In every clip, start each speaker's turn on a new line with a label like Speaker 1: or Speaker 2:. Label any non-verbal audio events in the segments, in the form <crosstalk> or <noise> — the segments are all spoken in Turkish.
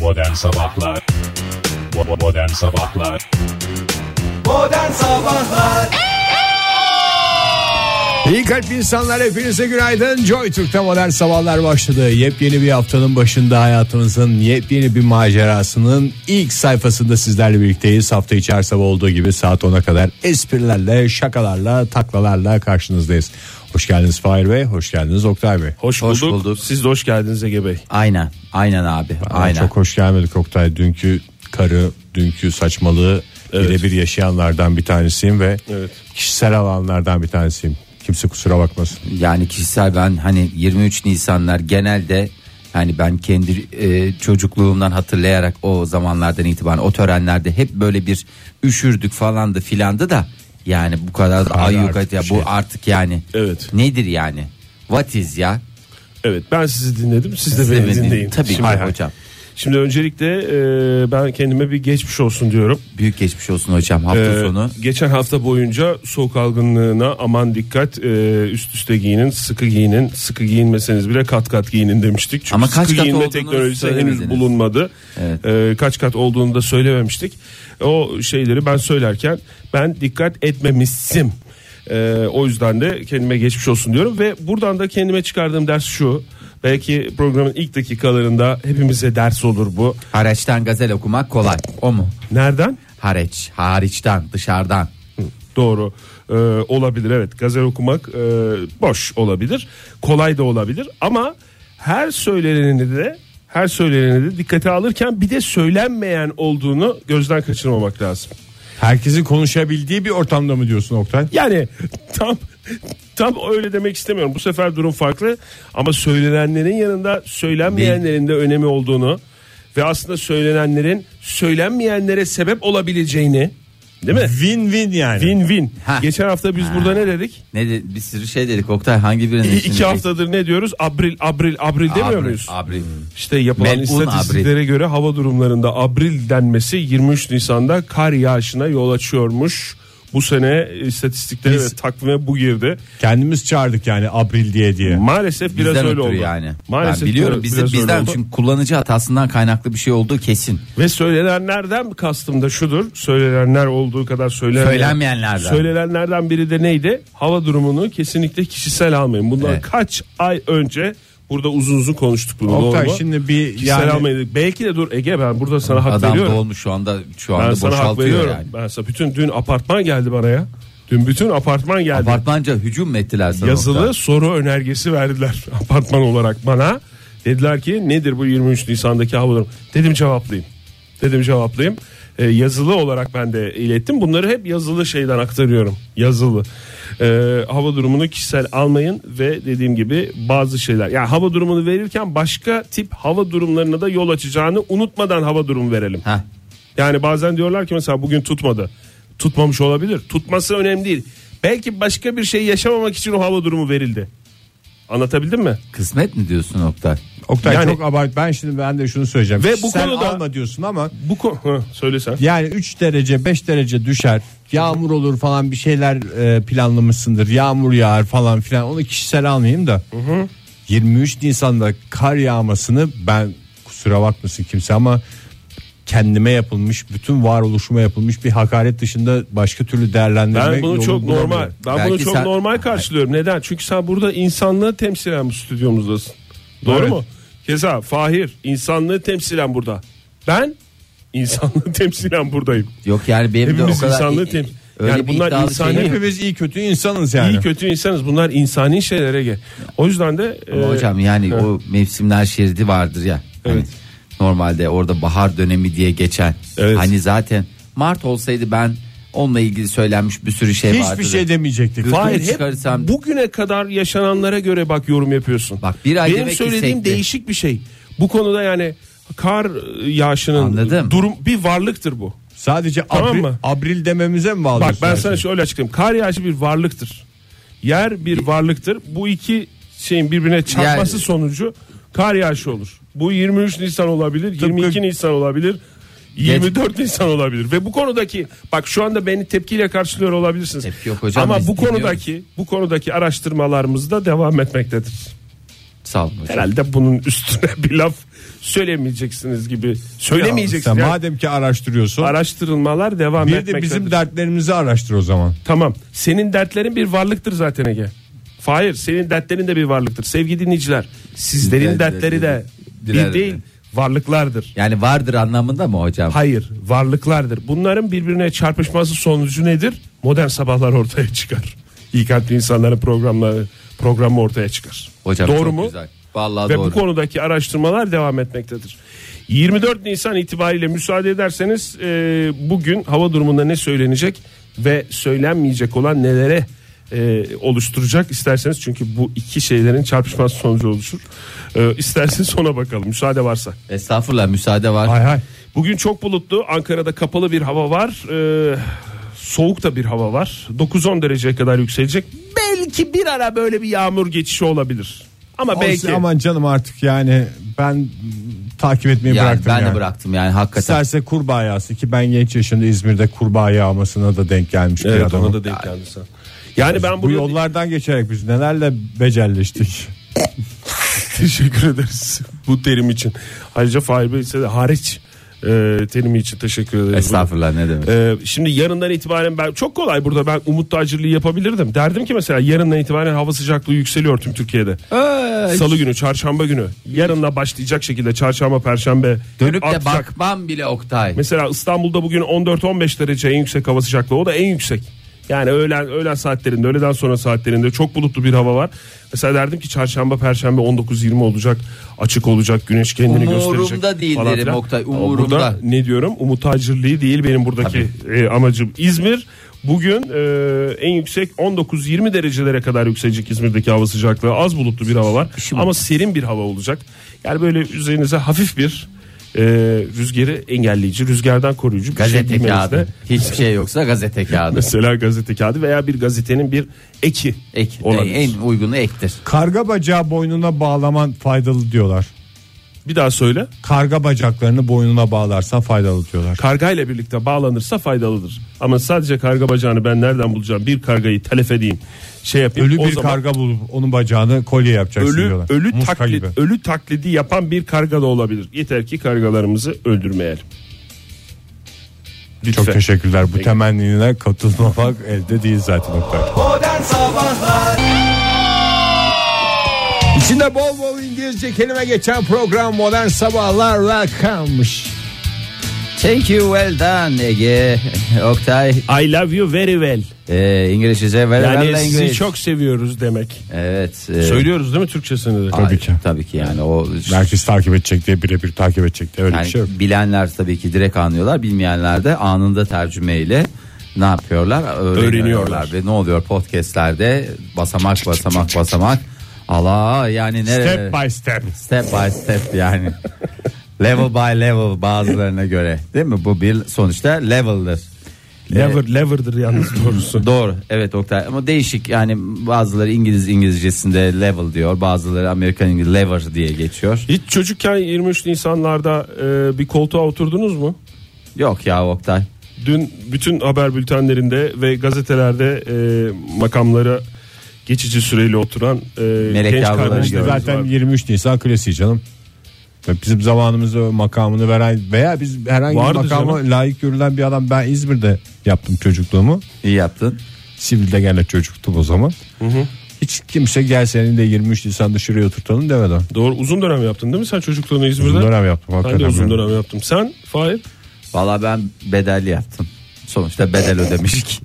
Speaker 1: Modern Sabahlar Bo- Modern Sabahlar
Speaker 2: Modern Sabahlar
Speaker 3: İyi kalp insanlar hepinize günaydın. Joy Türk'te modern sabahlar başladı. Yepyeni bir haftanın başında hayatımızın yepyeni bir macerasının ilk sayfasında sizlerle birlikteyiz. Hafta içi her sabah olduğu gibi saat 10'a kadar esprilerle, şakalarla, taklalarla karşınızdayız. Hoş geldiniz Fahir Bey, hoş geldiniz Oktay Bey.
Speaker 4: Hoş bulduk.
Speaker 5: Hoş bulduk.
Speaker 4: Siz de hoş geldiniz Ege Bey.
Speaker 5: Aynen. Aynen abi.
Speaker 3: Ama
Speaker 5: aynen.
Speaker 3: Çok hoş gelmedik Oktay. Dünkü karı, dünkü saçmalığı birebir yaşayanlardan bir tanesiyim ve
Speaker 4: Evet.
Speaker 3: kişisel alanlardan bir tanesiyim. Kimse kusura bakmasın.
Speaker 5: Yani kişisel ben hani 23 Nisanlar genelde hani ben kendi e, çocukluğumdan hatırlayarak o zamanlardan itibaren o törenlerde hep böyle bir üşürdük falandı filandı da yani bu kadar da
Speaker 3: Hala
Speaker 5: ayyuka
Speaker 3: artık
Speaker 5: ya
Speaker 3: bir
Speaker 5: bu
Speaker 3: şey.
Speaker 5: artık yani
Speaker 4: Evet.
Speaker 5: nedir yani what is ya
Speaker 4: Evet ben sizi dinledim siz de
Speaker 5: Siz
Speaker 4: beni
Speaker 5: de beni
Speaker 4: dinleyin.
Speaker 5: dinleyin. Tabii ki
Speaker 4: Şimdi-
Speaker 5: hocam.
Speaker 4: Şimdi öncelikle e, ben kendime bir geçmiş olsun diyorum.
Speaker 5: büyük geçmiş olsun hocam hafta
Speaker 4: E,
Speaker 5: sonu
Speaker 4: Geçen hafta boyunca soğuk algınlığına aman dikkat e, üst üste giyinin sıkı giyinin sıkı giyinmeseniz bile kat kat giyinin demiştik. Çünkü
Speaker 5: Ama kaç
Speaker 4: sıkı
Speaker 5: kat
Speaker 4: giyinme
Speaker 5: olduğunu
Speaker 4: teknolojisi henüz
Speaker 5: söylemediniz.
Speaker 4: bulunmadı.
Speaker 5: Evet.
Speaker 4: E, kaç kat olduğunu da söylememiştik. O şeyleri ben söylerken ben dikkat etmemişsim. E, o yüzden de kendime geçmiş olsun diyorum ve buradan da kendime çıkardığım ders şu. Belki programın ilk dakikalarında hepimize ders olur bu.
Speaker 5: haraçtan gazel okumak kolay o mu
Speaker 4: Nereden?
Speaker 5: haraç hariçten dışarıdan
Speaker 4: Doğru Ee, olabilir evet gazel okumak e, boş olabilir kolay da olabilir ama her söyleneni de her söyleneni de dikkate alırken bir de söylenmeyen olduğunu gözden kaçırmamak lazım.
Speaker 3: Herkesin konuşabildiği bir ortamda mı diyorsun Oktay?
Speaker 4: Yani tam tam öyle demek istemiyorum. Bu sefer durum farklı ama söylenenlerin yanında söylenmeyenlerin de önemi olduğunu ve aslında söylenenlerin söylenmeyenlere sebep olabileceğini değil mi?
Speaker 3: Win-win yani.
Speaker 4: Win win.
Speaker 5: Ha.
Speaker 4: Geçen hafta biz burada ne dedik?
Speaker 5: ne de, bir sürü şey dedik Oktay hangi birini
Speaker 4: İ-
Speaker 5: şimdi-
Speaker 4: İki haftadır ne diyoruz? Abril, abril, abril demiyor
Speaker 5: Abril,
Speaker 4: muyuz?
Speaker 5: abril.
Speaker 4: İşte yapılan
Speaker 5: Melun
Speaker 4: istatistiklere göre hava durumlarında abril denmesi 23 Nisan'da kar yağışına yol açıyormuş. Bu sene istatistiklere
Speaker 3: Biz-
Speaker 4: ve takvime bu girdi.
Speaker 3: Kendimiz çağırdık yani Abril diye diye.
Speaker 4: Maalesef biraz
Speaker 5: bizden ötürü
Speaker 4: öyle oldu.
Speaker 5: yani.
Speaker 4: Maalesef
Speaker 5: ben biliyorum
Speaker 4: biraz-
Speaker 5: biz,
Speaker 4: biraz öyle
Speaker 5: bizden
Speaker 4: oldu.
Speaker 5: çünkü kullanıcı hatasından kaynaklı bir şey olduğu kesin.
Speaker 4: Ve söylenenlerden kastım da şudur. Söylenenler olduğu kadar söylenmeyen,
Speaker 5: Söylenmeyenlerden.
Speaker 4: Söylenenlerden biri de neydi? Hava durumunu kesinlikle kişisel almayın. Bundan
Speaker 5: Evet.
Speaker 4: kaç ay önce burada uzun uzun konuştuk bunu.
Speaker 3: Oktay
Speaker 4: doğru mu?
Speaker 3: şimdi bir
Speaker 4: Kişisel
Speaker 3: yani
Speaker 4: almayın dedik. Belki de dur Ege ben burada sana hak
Speaker 5: Adam
Speaker 4: veriyorum.
Speaker 5: dolmuş şu anda şu
Speaker 4: Ben
Speaker 5: anda
Speaker 4: sana hak
Speaker 5: boşaltıyor
Speaker 4: veriyorum.
Speaker 5: yani.
Speaker 4: Ben sana bütün dün apartman geldi bana ya. Dün bütün apartman geldi.
Speaker 5: Apartmanca hücum mu ettiler sana?
Speaker 4: Yazılı
Speaker 5: Oktay?
Speaker 4: soru önergesi verdiler <laughs> apartman olarak bana. Dediler ki nedir bu 23 Nisan'daki hava durumu? Dedim cevaplayayım. Dedim cevaplayayım. Ee, yazılı olarak ben de ilettim. Bunları hep yazılı şeyden aktarıyorum. Yazılı. Ee, hava durumunu kişisel almayın ve dediğim gibi bazı şeyler. Yani hava durumunu verirken başka tip hava durumlarına da yol açacağını unutmadan hava durumu verelim.
Speaker 5: Heh.
Speaker 4: Yani bazen diyorlar ki mesela bugün tutmadı. Tutmamış olabilir. Tutması önemli değil. Belki başka bir şey yaşamamak için o hava durumu verildi. Anlatabildim mi?
Speaker 5: Kısmet mi diyorsun Oktay?
Speaker 3: Oktay
Speaker 4: Yani-
Speaker 3: çok abart. Ben şimdi ben de şunu söyleyeceğim.
Speaker 4: Ve bu
Speaker 3: Sen
Speaker 4: konuda-
Speaker 3: alma diyorsun ama
Speaker 4: Bu konu Hı, söylesen.
Speaker 3: yani 3 derece 5 derece düşer. Yağmur olur falan bir şeyler e, planlamışsındır. Yağmur yağar falan filan. Onu kişisel almayayım da. 23 Nisan'da kar yağmasını ben kusura bakmasın kimse ama kendime yapılmış bütün varoluşuma yapılmış bir hakaret dışında başka türlü değerlendirmek
Speaker 4: Ben bunu
Speaker 3: yolunu
Speaker 4: çok
Speaker 3: bulamıyorum.
Speaker 4: normal. Ben bunu
Speaker 5: Belki
Speaker 4: çok
Speaker 5: sen-
Speaker 4: normal karşılıyorum. Neden? Çünkü sen burada insanlığı temsilen bu stüdyomuzdasın. Doğru
Speaker 3: Evet.
Speaker 4: mu? Keza Fahir insanlığı temsilen burada. Ben insanlığı <laughs> temsilen buradayım.
Speaker 5: Yok yani benim de o
Speaker 4: Hepimiz
Speaker 5: kadar
Speaker 4: insanlığı
Speaker 5: i-
Speaker 4: tem-
Speaker 5: öyle
Speaker 4: Yani
Speaker 5: bir
Speaker 4: bunlar
Speaker 5: iddialı şey
Speaker 4: insani-
Speaker 5: şeyim yok.
Speaker 3: Hepimiz iyi kötü insanız yani.
Speaker 4: İyi kötü insanız. Bunlar insani şeylere gel. O yüzden de
Speaker 5: Ama
Speaker 4: e,
Speaker 5: hocam yani
Speaker 4: evet.
Speaker 5: o mevsimler şeridi vardır ya. Hani
Speaker 4: Evet.
Speaker 5: normalde orada bahar dönemi diye geçen.
Speaker 4: Evet.
Speaker 5: Hani zaten Mart olsaydı ben onunla ilgili söylenmiş bir sürü şey vardı.
Speaker 3: Hiçbir şey demeyecektik.
Speaker 5: Gırtlağı
Speaker 4: Hayır, hep
Speaker 5: çıkarırsam-
Speaker 4: bugüne kadar yaşananlara göre bak yorum yapıyorsun.
Speaker 5: Bak, bir ay
Speaker 4: Benim
Speaker 5: demek
Speaker 4: söylediğim
Speaker 5: istekli.
Speaker 4: değişik bir şey. Bu konuda yani kar e, yağışının
Speaker 5: Anladım.
Speaker 4: durum bir varlıktır bu.
Speaker 3: Sadece
Speaker 4: Tamam
Speaker 3: abril,
Speaker 4: mı?
Speaker 3: abril dememize mi
Speaker 4: Bak
Speaker 3: bağlıyorsun?
Speaker 4: ben
Speaker 3: her
Speaker 4: sana
Speaker 3: şeyi?
Speaker 4: şöyle açıklayayım. Kar yağışı bir varlıktır. Yer bir varlıktır. Bu iki şeyin birbirine çarpması
Speaker 5: Yer-
Speaker 4: sonucu kar yağışı olur. Bu 23 Nisan olabilir, 22 Nisan olabilir. 24 Nisan olabilir ve bu konudaki bak şu anda beni tepkiyle karşılıyor olabilirsiniz.
Speaker 5: Tepki yok hocam,
Speaker 4: Ama
Speaker 5: biz
Speaker 4: bu
Speaker 5: dinliyoruz.
Speaker 4: konudaki bu konudaki araştırmalarımız da devam etmektedir.
Speaker 5: Sağ olun hocam.
Speaker 4: Herhalde bunun üstüne <laughs> bir laf söylemeyeceksiniz gibi. Söylemeyeceksiniz.
Speaker 3: Sen
Speaker 4: Yani
Speaker 3: madem ki araştırıyorsun.
Speaker 4: araştırılmalar devam
Speaker 3: bir
Speaker 4: etmektedir.
Speaker 3: de bizim dertlerimizi araştır o zaman.
Speaker 4: Tamam. Senin dertlerin bir varlıktır zaten Ege. Hayır, senin dertlerin de bir varlıktır. Sevgili dinleyiciler, sizlerin
Speaker 5: Diler-
Speaker 4: dertleri de
Speaker 5: diler-
Speaker 4: bir değil, varlıklardır.
Speaker 5: Yani vardır anlamında mı hocam?
Speaker 4: Hayır, varlıklardır. Bunların birbirine çarpışması sonucu nedir? Modern sabahlar ortaya çıkar. İyi kalpli insanların programları programı ortaya çıkar.
Speaker 5: Hocam
Speaker 4: Doğru
Speaker 5: çok
Speaker 4: mu?
Speaker 5: Güzel. Vallahi
Speaker 4: Ve
Speaker 5: doğru.
Speaker 4: bu konudaki araştırmalar devam etmektedir. 24 Nisan itibariyle müsaade ederseniz e, bugün hava durumunda ne söylenecek ve söylenmeyecek olan nelere e, oluşturacak isterseniz çünkü bu iki şeylerin çarpışması sonucu oluşur. E, isterseniz ona bakalım müsaade varsa.
Speaker 5: Estağfurullah müsaade var.
Speaker 3: Hay hay.
Speaker 4: Bugün çok bulutlu. Ankara'da kapalı bir hava var. Ee, soğuk da bir hava var. 9-10 dereceye kadar yükselecek. Belki bir ara böyle bir yağmur geçişi olabilir. Ama belki.
Speaker 3: Aman canım artık yani ben mm, takip etmeyi
Speaker 5: Yani
Speaker 3: bıraktım
Speaker 5: ben
Speaker 3: yani.
Speaker 5: de bıraktım yani hakikaten.
Speaker 3: İsterse kurbağa yağısı ki ben genç yaşında İzmir'de kurbağa yağmasına da denk gelmiş bir
Speaker 4: Evet
Speaker 3: adamım.
Speaker 4: ona da denk geldi sen. Yani ben
Speaker 3: Bu
Speaker 4: burada
Speaker 3: yollardan geçerek biz nelerle becerleştik.
Speaker 4: <laughs> teşekkür ederiz bu terim için. Ayrıca Fahir Bey ise de hariç e, terimi için teşekkür ederiz.
Speaker 5: Estağfurullah ne demek.
Speaker 4: Ee, şimdi yarından itibaren ben çok kolay burada ben umut tacirliği yapabilirdim. Derdim ki mesela yarından itibaren hava sıcaklığı yükseliyor tüm Türkiye'de. Salı günü, çarşamba günü. Yarınla başlayacak şekilde çarşamba, perşembe
Speaker 5: Dönüp de
Speaker 4: artacak.
Speaker 5: bakmam bile Oktay.
Speaker 4: Mesela İstanbul'da bugün 14-15 derece en yüksek hava sıcaklığı. O da en yüksek. Yani öğlen öğlen saatlerinde, öğleden sonra saatlerinde çok bulutlu bir hava var. Mesela derdim ki çarşamba, perşembe 19-20 olacak. Açık olacak, güneş kendini
Speaker 5: Umurumda
Speaker 4: gösterecek.
Speaker 5: değil
Speaker 4: falan
Speaker 5: derim
Speaker 4: filan.
Speaker 5: Oktay,
Speaker 4: Ama
Speaker 5: umurumda.
Speaker 4: Burada ne diyorum? Umut Hacırlığı değil benim buradaki e, amacım. İzmir bugün e, en yüksek 19-20 derecelere kadar yükselecek İzmir'deki hava sıcaklığı. Az bulutlu bir hava var ama serin bir hava olacak. Yani böyle üzerinize hafif bir e, rüzgarı engelleyici, rüzgardan koruyucu bir şey
Speaker 5: Gazete
Speaker 4: giymeniz de
Speaker 5: kağıdı. Hiçbir şey yoksa gazete kağıdı.
Speaker 4: mesela gazete kağıdı veya bir gazetenin bir eki,
Speaker 5: Ek,
Speaker 4: olabilir.
Speaker 5: en uygunu ektir.
Speaker 3: Karga bacağı boynuna bağlaman faydalı diyorlar.
Speaker 4: Bir daha söyle.
Speaker 3: Karga bacaklarını boynuna bağlarsan faydalı diyorlar.
Speaker 4: kargayla birlikte bağlanırsa faydalıdır. Ama sadece karga bacağını ben nereden bulacağım? Bir kargayı telef edeyim. Şey yapayım.
Speaker 3: Ölü
Speaker 4: o
Speaker 3: bir
Speaker 4: zaman
Speaker 3: karga bulup onun bacağını kolye yapacaksın
Speaker 4: ölü
Speaker 3: diyorlar.
Speaker 4: ölü
Speaker 3: Muska
Speaker 4: taklit
Speaker 3: gibi.
Speaker 4: ölü taklidi yapan bir karga da olabilir. Yeter ki kargalarımızı öldürmeyelim. Lütfen.
Speaker 3: Çok teşekkürler. Bu temennine katılmamak elde değil zaten Oktay.
Speaker 2: Modern Sabahlar
Speaker 3: İçinde bol bol İngilizce kelime geçen program Modern Sabahlar'la kalmış.
Speaker 5: Thank you well done Ege. <laughs> Oktay.
Speaker 4: I love you very well.
Speaker 5: E, İngilizce very
Speaker 4: Yani
Speaker 5: well
Speaker 4: sizi
Speaker 5: language.
Speaker 4: çok seviyoruz demek.
Speaker 5: Evet. e,
Speaker 4: Söylüyoruz değil mi Türkçesini de?
Speaker 5: ay,
Speaker 3: Tabii ki.
Speaker 5: Tabii ki yani o
Speaker 3: Herkes takip edecek diye birebir takip edecek diye öyle
Speaker 5: yani
Speaker 3: bir şey yok.
Speaker 5: bilenler tabii ki direkt anlıyorlar. Bilmeyenler de anında tercümeyle ne yapıyorlar? Öğreniyorlar.
Speaker 4: Öğreniyorlar.
Speaker 5: Ve ne oluyor podcastlerde basamak basamak basamak. Allah yani nereye?
Speaker 3: Step by step.
Speaker 5: Step by step yani.
Speaker 3: <laughs>
Speaker 5: level by level bazılarına göre. Değil mi? Bu bir sonuçta level'dır.
Speaker 4: Lever, lever'dır yalnız doğrusu. <laughs>
Speaker 5: Doğru. Evet Oktay. Ama değişik yani bazıları İngiliz İngilizcesinde level diyor. Bazıları Amerikan İngiliz lever diye geçiyor.
Speaker 4: Hiç çocukken 23 Nisanlarda e, bir koltuğa oturdunuz mu?
Speaker 5: Yok ya Oktay.
Speaker 4: Dün bütün haber bültenlerinde ve gazetelerde e, makamlara geçici süreyle oturan e,
Speaker 5: Melek
Speaker 4: genç
Speaker 5: yavruları
Speaker 4: kardeşlerimiz
Speaker 5: gördüm.
Speaker 3: Zaten
Speaker 4: var.
Speaker 3: 23 Nisan klasiği canım. Ve Bizim zamanımızda o makamını veren veya biz herhangi
Speaker 4: Vardı
Speaker 3: bir makama layık görülen bir adam ben İzmir'de yaptım çocukluğumu.
Speaker 5: İyi yaptın.
Speaker 3: Sivil'de gene çocuktum o zaman. Hiç kimse gel seni de 23 Nisan'da şuraya oturtalım demedi.
Speaker 4: Doğru uzun dönem yaptın değil mi sen çocukluğunu İzmir'de?
Speaker 3: Uzun dönem yaptım
Speaker 4: Ben de
Speaker 3: hakikaten.
Speaker 4: uzun dönem yaptım. Sen Fahir
Speaker 5: Valla ben bedelli yaptım. Sonuçta bedel ödemiştik.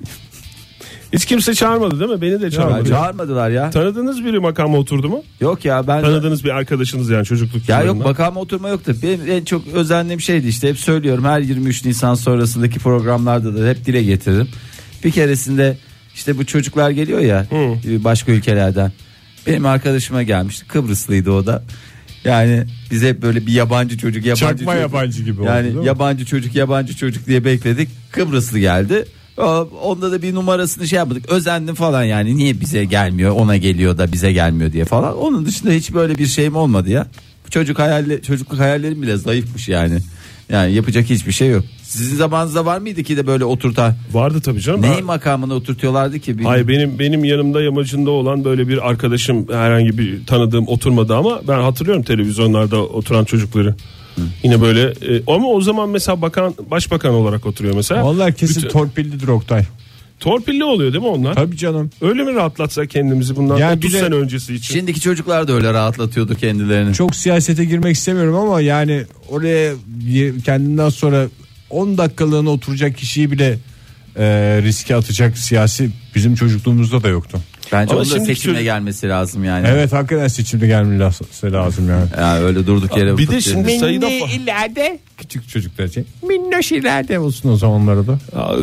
Speaker 4: hiç kimse çağırmadı değil mi? Beni de
Speaker 5: Ya,
Speaker 4: çağırmadı.
Speaker 5: Çağırmadılar ya.
Speaker 4: Tanıdığınız biri makama oturdu mu?
Speaker 5: Yok ya ben
Speaker 4: Tanıdığınız bir arkadaşınız yani çocukluk
Speaker 5: Ya yok
Speaker 4: yıllarında.
Speaker 5: bakama oturma yoktu. Benim en çok özendiğim şeydi işte hep söylüyorum her 23 Nisan sonrasındaki programlarda da hep dile getiririm. Bir keresinde işte bu çocuklar geliyor ya e, başka ülkelerden. Benim arkadaşıma gelmişti Kıbrıslıydı o da. Yani biz hep böyle bir yabancı çocuk yabancı
Speaker 3: Çakma
Speaker 5: çocuk.
Speaker 3: yabancı gibi oldu, değil mi?
Speaker 5: Yani yabancı çocuk yabancı çocuk diye bekledik. Kıbrıslı geldi. O- Onda da bir numarasını şey yapmadık. Özendim falan yani. Niye bize gelmiyor? Ona geliyor da bize gelmiyor diye falan. Onun dışında hiç böyle bir şeyim olmadı ya. Bu çocuk hayalle, çocukluk hayallerim bile zayıfmış yani. Yani yapacak hiçbir şey yok. Sizin zamanınızda var mıydı ki de böyle oturta?
Speaker 4: Vardı tabii canım.
Speaker 5: Neyin
Speaker 4: Ha-
Speaker 5: makamını oturtuyorlardı ki? Bilmiyorum.
Speaker 4: Hayır benim benim yanımda yamacında olan böyle bir arkadaşım herhangi bir tanıdığım oturmadı ama ben hatırlıyorum televizyonlarda oturan çocukları. Yine böyle e, ama o zaman mesela bakan başbakan olarak oturuyor mesela.
Speaker 3: Vallahi kesin
Speaker 4: Bütün-
Speaker 3: torpillidir Oktay.
Speaker 4: torpilli oluyor değil mi onlar?
Speaker 3: Tabii canım.
Speaker 4: Öyle mi rahatlatsak kendimizi bundan
Speaker 3: Yani
Speaker 4: 30
Speaker 3: bir de-
Speaker 4: sene öncesi için?
Speaker 5: Şimdiki çocuklar da öyle rahatlatıyordu kendilerini.
Speaker 3: Çok siyasete girmek istemiyorum ama yani oraya bir- kendinden sonra 10 dakikalığına oturacak kişiyi bile e, riske atacak siyasi bizim çocukluğumuzda da yoktu.
Speaker 5: Bence
Speaker 4: Ama
Speaker 5: onun da
Speaker 4: şimdiki
Speaker 5: seçimle
Speaker 4: çocuk-
Speaker 5: gelmesi lazım yani.
Speaker 3: Evet hakikaten seçimde gelmesi lazım yani.
Speaker 5: Yani öyle durduk yere.
Speaker 4: bir de
Speaker 5: oturup-
Speaker 4: şimdi sayıda fa-
Speaker 3: Küçük çocuklar için. Minnoş ileride olsun o zamanlarda da.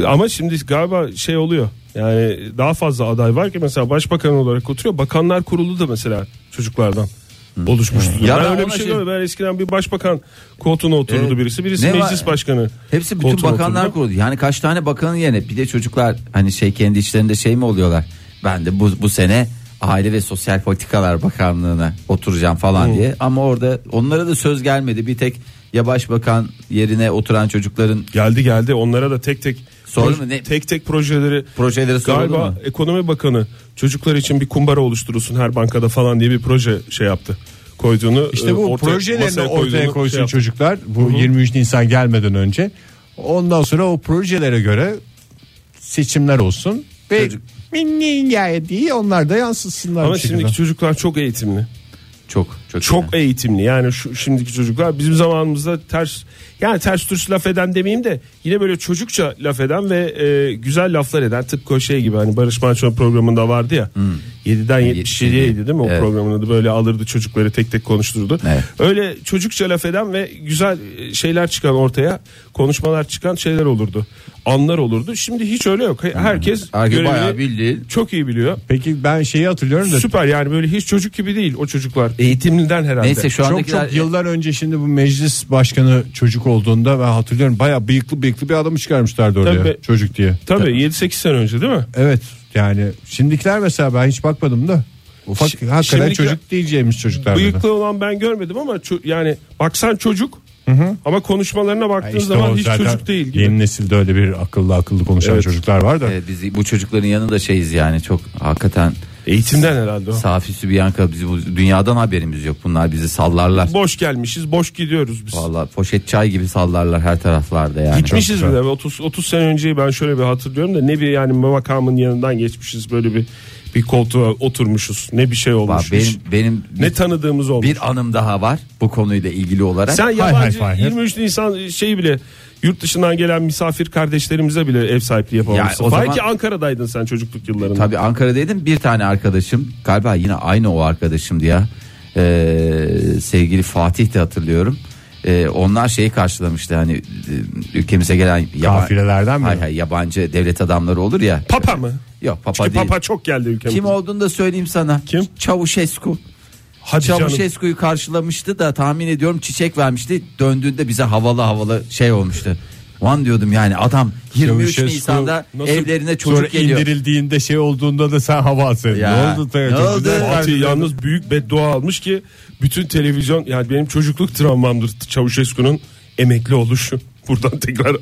Speaker 4: ama şimdi galiba şey oluyor. Yani daha fazla aday var ki mesela başbakan olarak oturuyor. Bakanlar Kurulu da mesela çocuklardan oluşmuştu.
Speaker 5: Ya
Speaker 4: ben,
Speaker 5: ben
Speaker 4: öyle bir
Speaker 5: ona
Speaker 4: şey
Speaker 5: şey-
Speaker 4: görmedim. Ben eskiden bir başbakan koltuğuna otururdu
Speaker 5: Evet.
Speaker 4: birisi. Birisi
Speaker 5: Ne var-
Speaker 4: meclis başkanı.
Speaker 5: Hepsi bütün
Speaker 4: koltuğuna
Speaker 5: bakanlar
Speaker 4: otururdu.
Speaker 5: kurulu. Yani kaç tane bakanın yerine bir de çocuklar hani şey kendi içlerinde şey mi oluyorlar? Ben de bu bu sene Aile ve Sosyal Politikalar Bakanlığına oturacağım falan diye. Ama orada onlara da söz gelmedi. Bir tek ya başbakan yerine oturan çocukların
Speaker 4: Geldi geldi onlara da tek tek
Speaker 5: Sordu
Speaker 4: proj-
Speaker 5: mu? Ne-
Speaker 4: tek tek projeleri
Speaker 5: projeleri soruldu
Speaker 4: galiba
Speaker 5: mu?
Speaker 4: ekonomi bakanı çocuklar için bir kumbara oluşturulsun her bankada falan diye bir proje şey yaptı koyduğunu e,
Speaker 3: İşte bu
Speaker 4: ortaya-
Speaker 3: projelerini
Speaker 4: masaya koyduğunu
Speaker 3: ortaya
Speaker 4: şey
Speaker 3: koysun
Speaker 4: yaptı.
Speaker 3: çocuklar. Bu 23 Nisan gelmeden önce. Ondan sonra o projelere göre seçimler olsun. Ve
Speaker 5: Çocuk-
Speaker 3: minni hikaye diye onlar da yansıtsınlar.
Speaker 4: ama
Speaker 3: bir şekilde.
Speaker 4: şimdiki çocuklar çok eğitimli
Speaker 5: Çok çok
Speaker 4: çok e- eğitimli yani şu şimdiki çocuklar bizim zamanımızda ters yani ters düz laf eden demeyeyim de yine böyle çocukça laf eden ve e, güzel laflar eden tıpkı o şey gibi hani Barış Manço programında vardı ya
Speaker 5: Hmm.
Speaker 4: 7'den 77'ye değil mi o
Speaker 5: Evet.
Speaker 4: programın adı böyle alırdı çocukları tek tek konuştururdu
Speaker 5: Evet.
Speaker 4: öyle çocukça laf eden ve güzel e, şeyler çıkan ortaya konuşmalar çıkan şeyler olurdu anlar olurdu şimdi hiç öyle yok herkes
Speaker 5: Herkes
Speaker 4: görevini
Speaker 5: Hmm. bayağı bildiğin-
Speaker 4: çok iyi biliyor
Speaker 3: Peki ben şeyi hatırlıyorum da
Speaker 4: Süper yani böyle hiç çocuk gibi değil o çocuklar. Eğitimliden herhalde.
Speaker 5: Neyse şu
Speaker 3: çok
Speaker 5: andakiler
Speaker 3: çok yıllar önce şimdi bu meclis başkanı çocuk olduğunda ben hatırlıyorum baya bıyıklı bıyıklı bir adamı çıkarmışlardı oraya
Speaker 4: Tabii.
Speaker 3: çocuk diye.
Speaker 4: Tabii 7-8 sene önce değil mi?
Speaker 3: Evet yani şimdikiler mesela ben hiç bakmadım da ufak
Speaker 4: Şi-
Speaker 3: hakikaten
Speaker 4: şimdiki-
Speaker 3: çocuk diyeceğimiz çocuklar.
Speaker 4: Bıyıklı olan ben görmedim ama ço- yani baksan çocuk ama konuşmalarına baktığın
Speaker 3: İşte
Speaker 4: zaman
Speaker 3: o
Speaker 4: hiç
Speaker 3: zaten
Speaker 4: çocuk değil. gibi.
Speaker 3: Yeni nesilde öyle bir akıllı akıllı konuşan
Speaker 4: Evet.
Speaker 3: çocuklar var da.
Speaker 5: e, biz bu çocukların yanında şeyiz yani çok hakikaten
Speaker 4: Eğitimden herhalde o.
Speaker 5: Safi Sübiyanka bizi bu dünyadan haberimiz yok. Bunlar bizi sallarlar.
Speaker 4: Boş gelmişiz, boş gidiyoruz biz.
Speaker 5: Vallahi poşet çay gibi sallarlar her taraflarda yani.
Speaker 4: Gitmişiz
Speaker 3: Çok
Speaker 4: bile 30 30 sene önceyi ben şöyle bir hatırlıyorum da ne bir yani makamın yanından geçmişiz böyle bir bir koltuğa oturmuşuz. Ne bir şey
Speaker 5: Bak
Speaker 4: olmuş.
Speaker 5: benim benim
Speaker 4: ne tanıdığımız olmuş.
Speaker 5: bir anım daha var bu konuyla ilgili olarak.
Speaker 4: Sen yabancı
Speaker 3: hay, hay.
Speaker 4: 23 Nisan şeyi bile yurt dışından gelen misafir kardeşlerimize bile ev sahipliği yapamamışsın.
Speaker 5: Yani o zaman-
Speaker 4: Belki Ankara'daydın sen çocukluk yıllarında.
Speaker 5: Tabii Ankara'daydım bir tane arkadaşım galiba yine aynı o arkadaşımdı ya Ee, sevgili Fatih de hatırlıyorum. Ee, onlar şeyi karşılamıştı hani e, ülkemize gelen yaba-
Speaker 3: Kafilelerden mi?
Speaker 5: Hayır, hayır, yabancı devlet adamları olur ya.
Speaker 4: Papa mı?
Speaker 5: Yok papa
Speaker 4: Çünkü
Speaker 5: değil.
Speaker 4: papa çok geldi ülkemize.
Speaker 5: Kim olduğunu da söyleyeyim sana.
Speaker 4: Kim?
Speaker 5: Çavuşescu.
Speaker 4: Hadi canım.
Speaker 5: Çavuşescu'yu karşılamıştı da tahmin ediyorum çiçek vermişti. Döndüğünde bize havalı havalı şey olmuştu. Van diyordum yani adam 23
Speaker 3: Çavuşescu
Speaker 5: Nisan'da
Speaker 4: nasıl-
Speaker 5: evlerine
Speaker 3: Sonra
Speaker 5: çocuk geliyor.
Speaker 3: indirildiğinde şey olduğunda da sen hava atsaydın.
Speaker 5: Ya.
Speaker 3: Ne oldu? Tabii
Speaker 5: Ne
Speaker 3: çok
Speaker 5: oldu?
Speaker 3: güzel.
Speaker 4: Fatih yalnız büyük beddua almış ki bütün televizyon yani benim çocukluk travmamdır Çavuşescu'nun emekli oluşu. <laughs> Buradan tekrar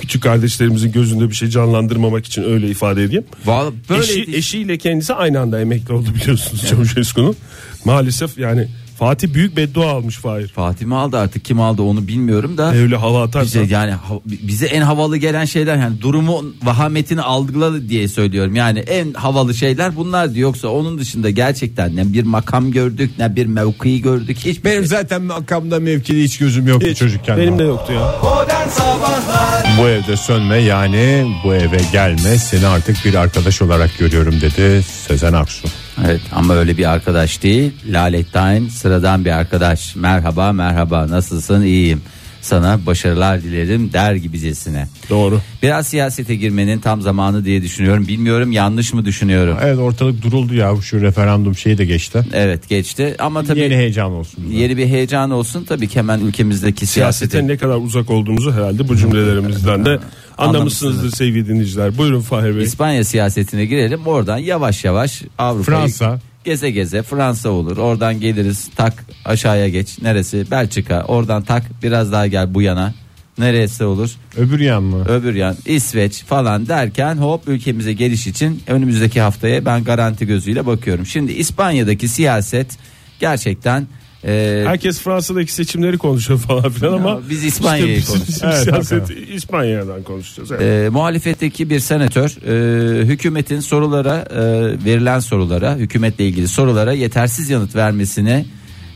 Speaker 4: küçük kardeşlerimizin gözünde bir şey canlandırmamak için öyle ifade edeyim.
Speaker 5: Vallahi böyleydi
Speaker 4: Eşi,
Speaker 5: işte.
Speaker 4: eşiyle kendisi aynı anda emekli oldu biliyorsunuz Çavuşescu'nun. Maalesef yani Fatih büyük beddua almış Fahir. Hani
Speaker 5: Fatih mi aldı artık kim aldı onu bilmiyorum da.
Speaker 4: Öyle hava atarsa.
Speaker 5: Bize yani ha- bize en havalı gelen şeyler yani durumu vahametini algıladı diye söylüyorum. Yani en havalı şeyler bunlar diyor. Yoksa onun dışında gerçekten ne bir makam gördük ne bir mevkiyi gördük. Hiçbir şey
Speaker 3: Benim zaten makamda mevkide hiç gözüm yoktu çocukken.
Speaker 4: Benim de yoktu ya.
Speaker 2: Modern Sabahlar
Speaker 3: Bu evde sönme yani bu eve gelme seni artık bir arkadaş olarak görüyorum dedi Sezen Aksu.
Speaker 5: Evet ama öyle bir arkadaş değil. Lale Time sıradan bir arkadaş. Merhaba merhaba nasılsın iyiyim. Sana başarılar dilerim der gibicesine.
Speaker 4: Doğru.
Speaker 5: Biraz siyasete girmenin tam zamanı diye düşünüyorum. Bilmiyorum yanlış mı düşünüyorum.
Speaker 3: Evet ortalık duruldu ya şu referandum şeyi de geçti.
Speaker 5: Evet geçti ama tabii
Speaker 3: Yeni
Speaker 5: yeni,
Speaker 3: heyecan olsun.
Speaker 5: bir heyecan olsun. Tabii ki hemen ülkemizdeki siyasete
Speaker 4: Siyaseten ne kadar uzak olduğumuzu herhalde bu cümlelerimizden de anlamışsınızdır
Speaker 5: Anlamışsınız.
Speaker 4: sevgili dinleyiciler. Buyurun Fahir Bey.
Speaker 5: İspanya siyasetine girelim. Oradan yavaş yavaş Avrupa'yı
Speaker 3: Fransa.
Speaker 5: Geze geze Fransa olur. Oradan geliriz tak aşağıya geç. Neresi? Belçika. Oradan tak biraz daha gel bu yana. Neresi olur?
Speaker 3: Öbür yan mı?
Speaker 5: Öbür yan İsveç falan derken hop ülkemize geliş için önümüzdeki haftaya ben garanti gözüyle bakıyorum. Şimdi İspanya'daki siyaset gerçekten e,
Speaker 4: Herkes Fransa'daki seçimleri konuşuyor falan filan ama
Speaker 5: biz İspanya'yı
Speaker 4: işte bizim-
Speaker 5: konuşuyoruz.
Speaker 4: bizim <laughs>
Speaker 3: Evet,
Speaker 4: siyaset İspanya'dan konuşacağız. Evet.
Speaker 5: e, muhalefetteki bir senatör e, hükümetin sorulara e, verilen sorulara hükümetle ilgili sorulara yetersiz yanıt vermesine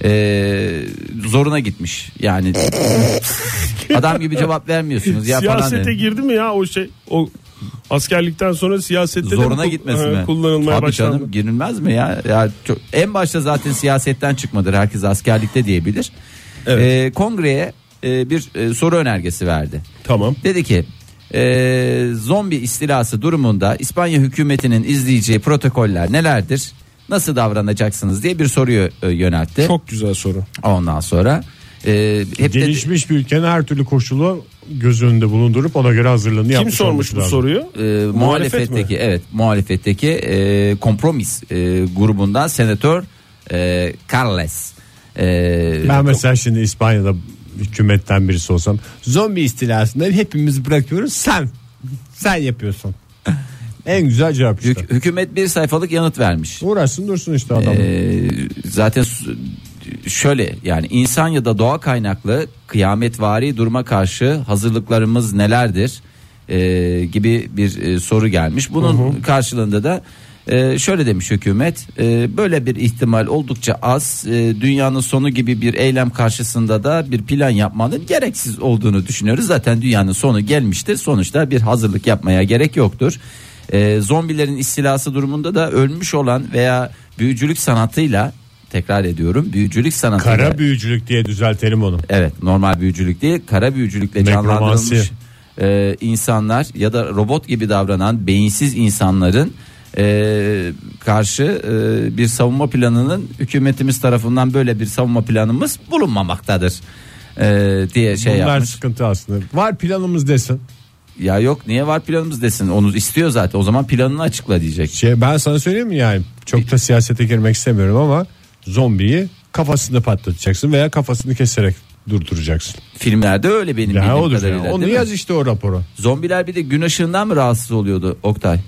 Speaker 5: e, zoruna gitmiş.
Speaker 4: <laughs>
Speaker 5: Yani adam gibi cevap vermiyorsunuz ya falan.
Speaker 4: Siyasete
Speaker 5: dedi.
Speaker 4: girdi mi ya o şey o askerlikten sonra siyasette de
Speaker 5: Zoruna
Speaker 4: bu-
Speaker 5: gitmesin
Speaker 4: e,
Speaker 5: mi?
Speaker 4: kullanılmaya
Speaker 5: Tabii
Speaker 4: başlandı.
Speaker 5: canım girilmez mi ya? ya çok- en başta zaten siyasetten çıkmadır. Herkes askerlikte diyebilir. Ee, kongreye e, bir e, soru önergesi verdi.
Speaker 4: Tamam.
Speaker 5: Dedi ki e, zombi istilası durumunda İspanya hükümetinin izleyeceği protokoller nelerdir? Nasıl davranacaksınız diye bir soruyu e, yöneltti.
Speaker 4: Çok güzel soru.
Speaker 5: Ondan sonra e, hep de-
Speaker 3: Gelişmiş bir ülkenin her türlü koşulu göz önünde bulundurup ona göre hazırlığını
Speaker 4: Kim
Speaker 3: yapmış
Speaker 4: sormuş
Speaker 3: olması
Speaker 4: bu
Speaker 3: lazım.
Speaker 4: soruyu?
Speaker 5: e, muhalefetteki evet muhalefetteki e, kompromis e, grubundan senatör e, Carles. E,
Speaker 3: Ben mesela şimdi İspanya'da hükümetten birisi olsam zombi istilasında hepimiz bırakıyoruz sen sen
Speaker 4: <laughs>
Speaker 3: yapıyorsun. en güzel cevap işte.
Speaker 5: hük- hükümet bir sayfalık yanıt vermiş.
Speaker 3: Uğraşsın dursun işte adam.
Speaker 4: Ee,
Speaker 5: E, zaten su- şöyle yani insan ya da doğa kaynaklı kıyametvari duruma karşı hazırlıklarımız nelerdir E, gibi bir e, soru gelmiş. Bunun karşılığında da e, şöyle demiş hükümet e, böyle bir ihtimal oldukça az E, dünyanın sonu gibi bir eylem karşısında da bir plan yapmanın gereksiz olduğunu düşünüyoruz. Zaten dünyanın sonu gelmiştir sonuçta bir hazırlık yapmaya gerek yoktur. E, zombilerin istilası durumunda da ölmüş olan veya büyücülük sanatıyla tekrar ediyorum büyücülük sanatıyla
Speaker 3: Kara büyücülük diye düzeltelim onu.
Speaker 5: evet normal büyücülük değil kara büyücülükle
Speaker 3: Nekromansi.
Speaker 5: canlandırılmış e, insanlar ya da robot gibi davranan beyinsiz insanların e, karşı e, bir savunma planının hükümetimiz tarafından böyle bir savunma planımız bulunmamaktadır e, diye şey
Speaker 3: Bunlar
Speaker 5: yapmış.
Speaker 3: sıkıntı aslında. Var planımız desin.
Speaker 5: Ya yok niye var planımız desin onu istiyor zaten o zaman planını açıkla diyecek.
Speaker 3: Şey, ben sana söyleyeyim mi yani çok da siyasete girmek istemiyorum ama zombiyi kafasını patlatacaksın veya kafasını keserek durduracaksın.
Speaker 5: Filmlerde öyle benim
Speaker 3: Ya
Speaker 5: bildiğim
Speaker 3: odur
Speaker 5: kadarıyla.
Speaker 3: ya. Onu
Speaker 5: değil mi?
Speaker 3: yaz işte o raporu.
Speaker 5: Zombiler bir de gün ışığından mı rahatsız oluyordu Oktay?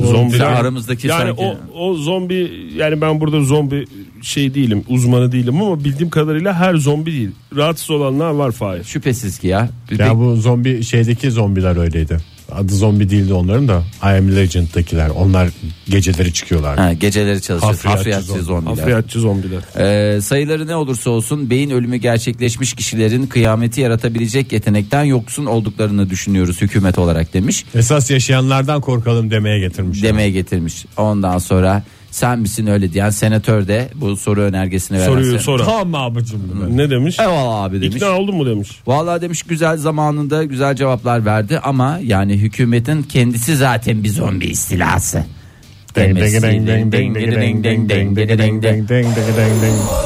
Speaker 4: Zombiler
Speaker 5: Sen aramızdaki
Speaker 4: yani
Speaker 5: sanki-
Speaker 4: o o zombi yani ben burada zombi şey değilim uzmanı değilim ama bildiğim kadarıyla her zombi değil rahatsız olanlar var Fahir.
Speaker 5: Şüphesiz ki ya. Bir de-
Speaker 3: Ya bu zombi şeydeki zombiler öyleydi. Adı zombi değildi onların da. I am Legend'dakiler. Onlar geceleri çıkıyorlar.
Speaker 5: Ha, geceleri çalışır.
Speaker 3: Hafriyatçı
Speaker 5: Hafriyatçı
Speaker 3: zombi.
Speaker 5: zombiler.
Speaker 4: Afriyatçı zombiler.
Speaker 5: Ee, sayıları ne olursa olsun beyin ölümü gerçekleşmiş kişilerin kıyameti yaratabilecek yetenekten yoksun olduklarını düşünüyoruz hükümet olarak demiş.
Speaker 3: Esas yaşayanlardan korkalım demeye getirmiş.
Speaker 5: Demeye getirmiş. Ondan sonra sen misin öyle diyen senatör de bu soru önergesini veren. sen-
Speaker 4: Soruyu sonra.
Speaker 3: Tamam abicim.
Speaker 4: Ne demiş?
Speaker 5: Eyvallah abi demiş.
Speaker 4: İkna oldun mu demiş.
Speaker 5: Vallahi demiş güzel zamanında güzel cevaplar verdi ama yani hükümetin kendisi zaten bir zombi istilası. Demesi-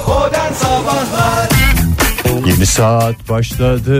Speaker 2: Modern Sabahlar
Speaker 3: Yeni saat başladı.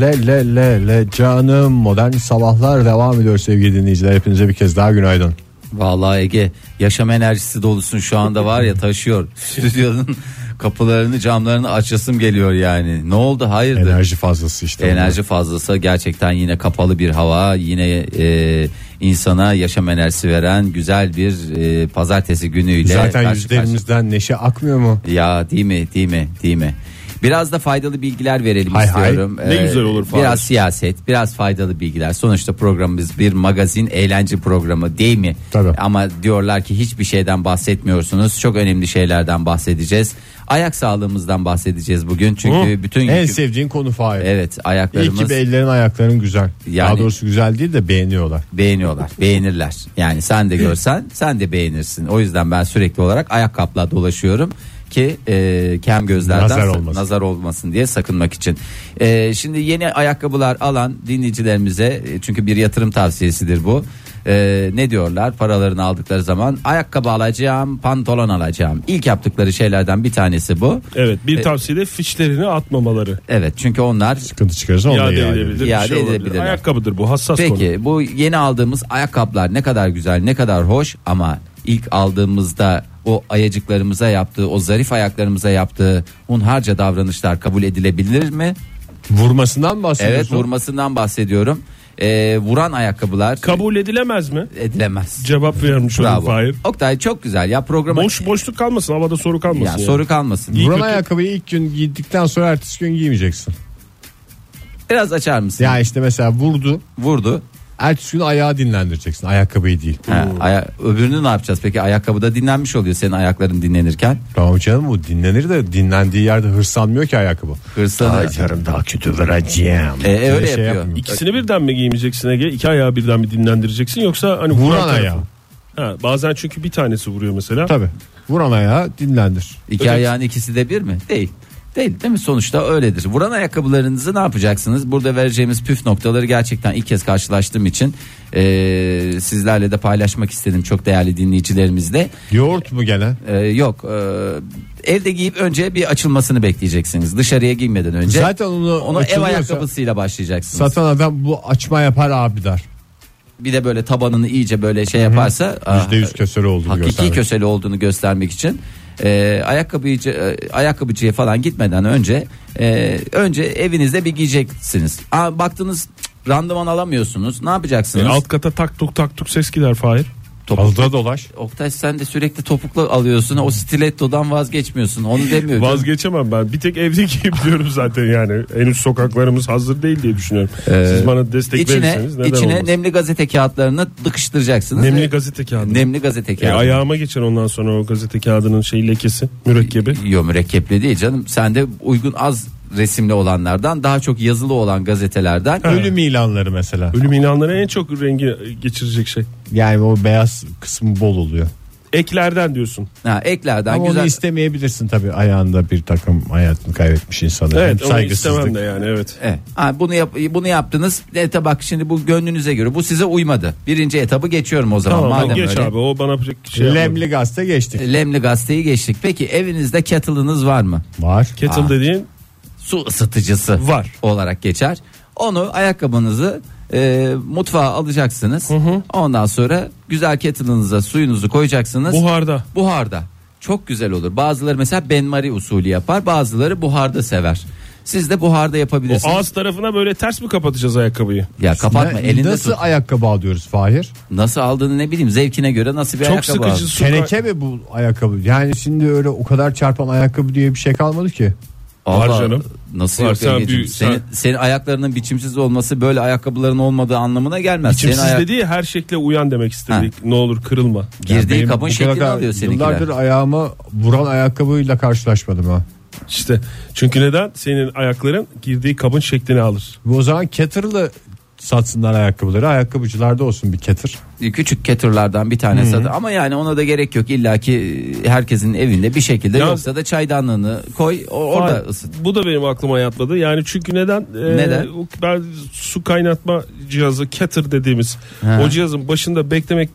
Speaker 3: Le le le le canım. Modern sabahlar devam ediyor sevgili dinleyiciler. Hepinize bir kez daha günaydın.
Speaker 5: Vallahi Ege yaşam enerjisi dolusun şu anda var ya taşıyor. Stüdyonun kapılarını camlarını açasım geliyor yani. Ne oldu hayırdır? Enerji,
Speaker 3: Enerji fazlası işte.
Speaker 5: fazlası gerçekten yine kapalı bir hava yine e, insana yaşam enerjisi veren güzel bir e, pazartesi günüyle.
Speaker 3: Zaten
Speaker 5: karşı
Speaker 3: yüzlerimizden neşe akmıyor mu?
Speaker 5: karşı- Ya değil mi değil mi değil mi? Biraz da faydalı bilgiler verelim
Speaker 3: Hay hay.
Speaker 5: istiyorum. Ee,
Speaker 4: Ne güzel olur Fahir.
Speaker 5: Biraz siyaset, biraz faydalı bilgiler. Sonuçta programımız bir magazin eğlence programı değil mi?
Speaker 3: Tabii.
Speaker 5: Ama diyorlar ki hiçbir şeyden bahsetmiyorsunuz. Çok önemli şeylerden bahsedeceğiz. Ayak sağlığımızdan bahsedeceğiz bugün. Çünkü bütün
Speaker 3: En
Speaker 5: yükü-
Speaker 3: sevdiğin konu faiz.
Speaker 5: Evet
Speaker 3: İyi ki
Speaker 5: ayaklarımız
Speaker 3: bellerin ayakların güzel.
Speaker 5: Yani-
Speaker 3: Daha doğrusu güzel değil de beğeniyorlar.
Speaker 5: beğeniyorlar, beğenirler. Yani sen de görsen sen de beğenirsin. O yüzden ben sürekli olarak ayakkabıla dolaşıyorum ki e, kem gözlerden
Speaker 3: Nazar olmasın.
Speaker 5: nazar olmasın diye sakınmak için. E, şimdi yeni ayakkabılar alan dinleyicilerimize e, çünkü bir yatırım tavsiyesidir bu. E, ne diyorlar paralarını aldıkları zaman ayakkabı alacağım pantolon alacağım İlk yaptıkları şeylerden bir tanesi bu
Speaker 4: Evet bir
Speaker 5: E,
Speaker 4: tavsiye de fişlerini atmamaları.
Speaker 5: evet çünkü onlar
Speaker 3: Sıkıntı çıkarırsa onu da
Speaker 4: İade
Speaker 3: iade
Speaker 4: edilebilir. bir
Speaker 5: İade
Speaker 4: şey olabilir.
Speaker 5: edilebilirler.
Speaker 4: Ayakkabıdır bu hassas konu.
Speaker 5: Peki bu yeni aldığımız ayakkabılar ne kadar güzel ne kadar hoş ama ilk aldığımızda o ayacıklarımıza yaptığı, o zarif ayaklarımıza yaptığı hunharca davranışlar kabul edilebilir mi?
Speaker 3: Vurmasından
Speaker 5: Evet
Speaker 3: bahsediyorsun.
Speaker 5: vurmasından bahsediyorum. Ee, vuran ayakkabılar
Speaker 4: Kabul edilemez mi?
Speaker 5: edilemez.
Speaker 4: Cevap vermiş oldum Fahir.
Speaker 5: Oktay çok güzel ya programa
Speaker 4: Boş boşluk kalmasın havada soru
Speaker 5: ya,
Speaker 4: kalmasın. yani.
Speaker 5: soru kalmasın.
Speaker 3: Vuran
Speaker 4: kötü.
Speaker 3: ayakkabıyı ilk gün giydikten sonra ertesi gün giymeyeceksin.
Speaker 5: Biraz açar mısın?
Speaker 3: Ya işte mesela vurdu.
Speaker 5: Vurdu.
Speaker 3: Ertesi gün ayağı dinlendireceksin. Ayakkabıyı değil.
Speaker 5: Ha, aya- öbürünü ne yapacağız peki? Ayakkabıda dinlenmiş oluyor senin ayakların dinlenirken.
Speaker 3: Tamam canım bu dinlenir de dinlendiği yerde hırslanmıyor ki ayakkabı.
Speaker 5: Hırslanıyor.
Speaker 3: yarın daha kötü vereceğim.
Speaker 5: E, e, öyle
Speaker 3: Şey
Speaker 5: yapıyor.
Speaker 3: yapmıyor.
Speaker 4: İkisini birden mi giymeyeceksin Ege? İki ayağı birden mi dinlendireceksin yoksa hani vuran,
Speaker 3: Vuran
Speaker 4: tarafı-
Speaker 3: ayağı.
Speaker 4: Ha, bazen çünkü bir tanesi vuruyor mesela.
Speaker 3: Tabii. Vuran ayağı dinlendir.
Speaker 5: İki ayağın ikisi de bir mi? Değil. Değil değil mi? Sonuçta öyledir. Vuran ayakkabılarınızı ne yapacaksınız? Burada vereceğimiz püf noktaları gerçekten ilk kez karşılaştığım için e, sizlerle de paylaşmak istedim çok değerli dinleyicilerimizle.
Speaker 3: Yoğurt mu gene?
Speaker 5: E, yok e, evde giyip önce bir açılmasını bekleyeceksiniz. Dışarıya giymeden önce.
Speaker 3: Zaten onu,
Speaker 5: onu ev
Speaker 3: açılıyorsa
Speaker 5: ayakkabısıyla başlayacaksınız.
Speaker 3: Satan adam bu açma yapar abi der.
Speaker 5: bir de böyle tabanını iyice böyle şey yaparsa ah,
Speaker 3: %100 köseli olduğunu
Speaker 5: hakiki
Speaker 3: göstermek.
Speaker 5: köseli olduğunu göstermek için e, ayakkabıcı e, ayakkabıcıya falan gitmeden önce e, önce evinizde bir giyeceksiniz. Aa, baktınız cık, randıman alamıyorsunuz. Ne
Speaker 4: E,
Speaker 5: yapacaksınız?
Speaker 4: alt kata tak tuk tak tuk ses gider
Speaker 5: E,
Speaker 4: Fahir.
Speaker 5: Topuk.
Speaker 3: Fazla dolaş.
Speaker 5: Oktay sen de sürekli topuklu alıyorsun. O stiletto'dan vazgeçmiyorsun. Onu demiyorum.
Speaker 4: Vazgeçemem ben. Bir tek evde <laughs> giyebiliyorum zaten yani. Henüz sokaklarımız hazır değil diye düşünüyorum. Siz bana destek
Speaker 5: Ee, içine
Speaker 4: verirseniz neden
Speaker 5: içine
Speaker 4: olmasın?
Speaker 5: nemli gazete kağıtlarını dıkıştıracaksınız.
Speaker 4: Nemli
Speaker 5: ve-
Speaker 4: gazete kağıdı.
Speaker 5: Nemli gazete
Speaker 4: E,
Speaker 5: kağıdı.
Speaker 4: ayağıma geçer ondan sonra o gazete kağıdının şey lekesi, mürekkebi.
Speaker 5: Yo mürekkepli değil canım. Sen de uygun az resimli olanlardan daha çok yazılı olan gazetelerden
Speaker 3: Ölüm ilanları mesela.
Speaker 4: Ölüm ilanları en çok rengi geçirecek şey.
Speaker 3: Yani o beyaz kısmı bol oluyor.
Speaker 4: Eklerden diyorsun.
Speaker 5: ha, eklerden
Speaker 3: Ama
Speaker 5: güzel.
Speaker 3: onu istemeyebilirsin tabii ayağında bir takım hayatını kaybetmiş insanı.
Speaker 4: Evet
Speaker 3: Hem
Speaker 4: onu
Speaker 3: saygısızlık.
Speaker 4: istemem de yani evet.
Speaker 5: Evet. Ha, bunu yap, bunu yaptınız. E, bak şimdi bu gönlünüze göre bu size uymadı. Birinci etabı geçiyorum o zaman.
Speaker 4: Tamam
Speaker 5: Madem
Speaker 4: geç
Speaker 5: öyle.
Speaker 4: abi o bana bir şey yapmadı.
Speaker 3: Lemli gazete geçtik.
Speaker 5: Lemli gazeteyi geçtik. Peki evinizde kettle'ınız var mı?
Speaker 3: Var.
Speaker 4: Kettle dediğin
Speaker 5: Su ısıtıcısı
Speaker 4: Var.
Speaker 5: olarak geçer. Onu ayakkabınızı e, mutfağa alacaksınız. Ondan sonra güzel kettle'ınıza suyunuzu koyacaksınız.
Speaker 4: buharda.
Speaker 5: buharda çok güzel olur. Bazıları mesela benmari usulü yapar, bazıları buharda sever. Siz de buharda
Speaker 4: O
Speaker 5: yapabilirsiniz.
Speaker 4: ağız tarafına böyle ters mi kapatacağız ayakkabıyı?
Speaker 5: ya kapatma
Speaker 3: Ne-
Speaker 5: elinde
Speaker 3: Nasıl
Speaker 5: tut.
Speaker 3: ayakkabı alıyoruz Fahir?
Speaker 5: Nasıl aldığını ne bileyim zevkine göre nasıl bir
Speaker 4: Çok
Speaker 5: ayakkabı
Speaker 4: sıkıcı
Speaker 5: al.
Speaker 4: su.
Speaker 3: Teneke mi bu ayakkabı? Yani şimdi öyle o kadar çarpan ayakkabı diye bir şey kalmadı ki.
Speaker 5: Allah,
Speaker 4: Var canım.
Speaker 5: Nasıl
Speaker 4: Var,
Speaker 5: yok
Speaker 4: sen
Speaker 5: Egeciğim?
Speaker 4: büyük-
Speaker 5: senin,
Speaker 4: sen-
Speaker 5: senin ayaklarının biçimsiz olması böyle ayakkabıların olmadığı anlamına gelmez.
Speaker 4: Şimdi
Speaker 5: senin
Speaker 4: siz
Speaker 5: ayak-
Speaker 4: dediği her şekle uyan demek istedik. Ne olur kırılma.
Speaker 5: girdiği
Speaker 3: Benim
Speaker 5: kabın
Speaker 3: bu
Speaker 5: şeklini
Speaker 3: kadar
Speaker 5: alıyor
Speaker 3: Yıllardır
Speaker 5: seninkiler.
Speaker 3: ayağıma vuran ayakkabıyla karşılaşmadım ha.
Speaker 4: İşte çünkü neden? Senin ayakların girdiği kabın şeklini alır.
Speaker 3: Bu o zaman Cater'lı satsınlar ayakkabıları. Ayakkabıcılarda olsun bir Cater.
Speaker 5: E, Küçük keturlardan bir tane sadı ama yani ona da gerek yok illaki herkesin evinde bir şekilde
Speaker 4: Ya-
Speaker 5: yoksa da çaydanlığını koy o- orada ısıt.
Speaker 4: Bu da benim aklıma yatmadı. Yani çünkü neden? Ee,
Speaker 5: Neden?
Speaker 4: o- Ben su kaynatma cihazı kettle dediğimiz
Speaker 5: Ha.
Speaker 4: o cihazın başında beklemek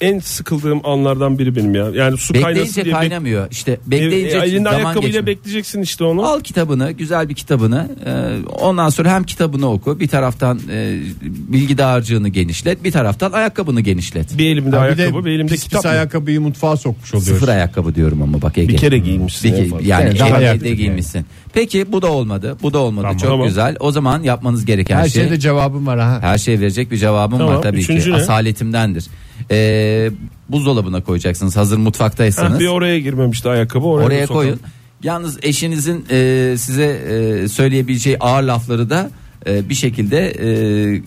Speaker 4: en sıkıldığım anlardan biri benim ya. Yani su kaynasın
Speaker 5: Bekleyince
Speaker 4: diye bek-
Speaker 5: kaynamıyor. İşte
Speaker 4: E,
Speaker 5: bekleyince
Speaker 4: e, elinde
Speaker 5: zaman
Speaker 4: ayakkabıyla
Speaker 5: geçmiyor.
Speaker 4: bekleyeceksin işte onu.
Speaker 5: Al kitabını, güzel bir kitabını. e, ondan sonra hem kitabını oku, bir taraftan e, bilgi dağarcığını genişlet, bir taraftan ayakkabını genişlet.
Speaker 4: Bir elimde
Speaker 3: Ha, bir de
Speaker 4: ayakkabı, bir elimde
Speaker 3: pis
Speaker 4: kitap.
Speaker 3: Pis ayakkabıyı mutfağa sokmuş oluyoruz.
Speaker 5: Sıfır ayakkabı diyorum ama bak Ege.
Speaker 4: Bir kere giymişsin
Speaker 5: Bir ke-
Speaker 4: en fazla.
Speaker 5: yani
Speaker 3: Yani daha
Speaker 5: evde
Speaker 3: yaktık yani.
Speaker 5: giymişsin. Peki bu da olmadı. Bu da olmadı.
Speaker 4: Tamam.
Speaker 5: Çok
Speaker 4: Tamam.
Speaker 5: güzel. O zaman yapmanız gereken
Speaker 3: Her
Speaker 5: şey
Speaker 3: şeyde cevabım var ha.
Speaker 5: her şeye verecek bir cevabım
Speaker 4: Tamam,
Speaker 5: var tabii ki.
Speaker 4: üçüncü ne?
Speaker 5: Asaletimdendir. E, buzdolabına koyacaksınız. Hazır
Speaker 4: Ha,
Speaker 5: mutfaktaysanız.
Speaker 4: bir oraya girmemişti ayakkabı. Oraya,
Speaker 5: Oraya
Speaker 4: da sokalım.
Speaker 5: koyun. Yalnız eşinizin e, size e, söyleyebileceği ağır lafları da e, bir şekilde e,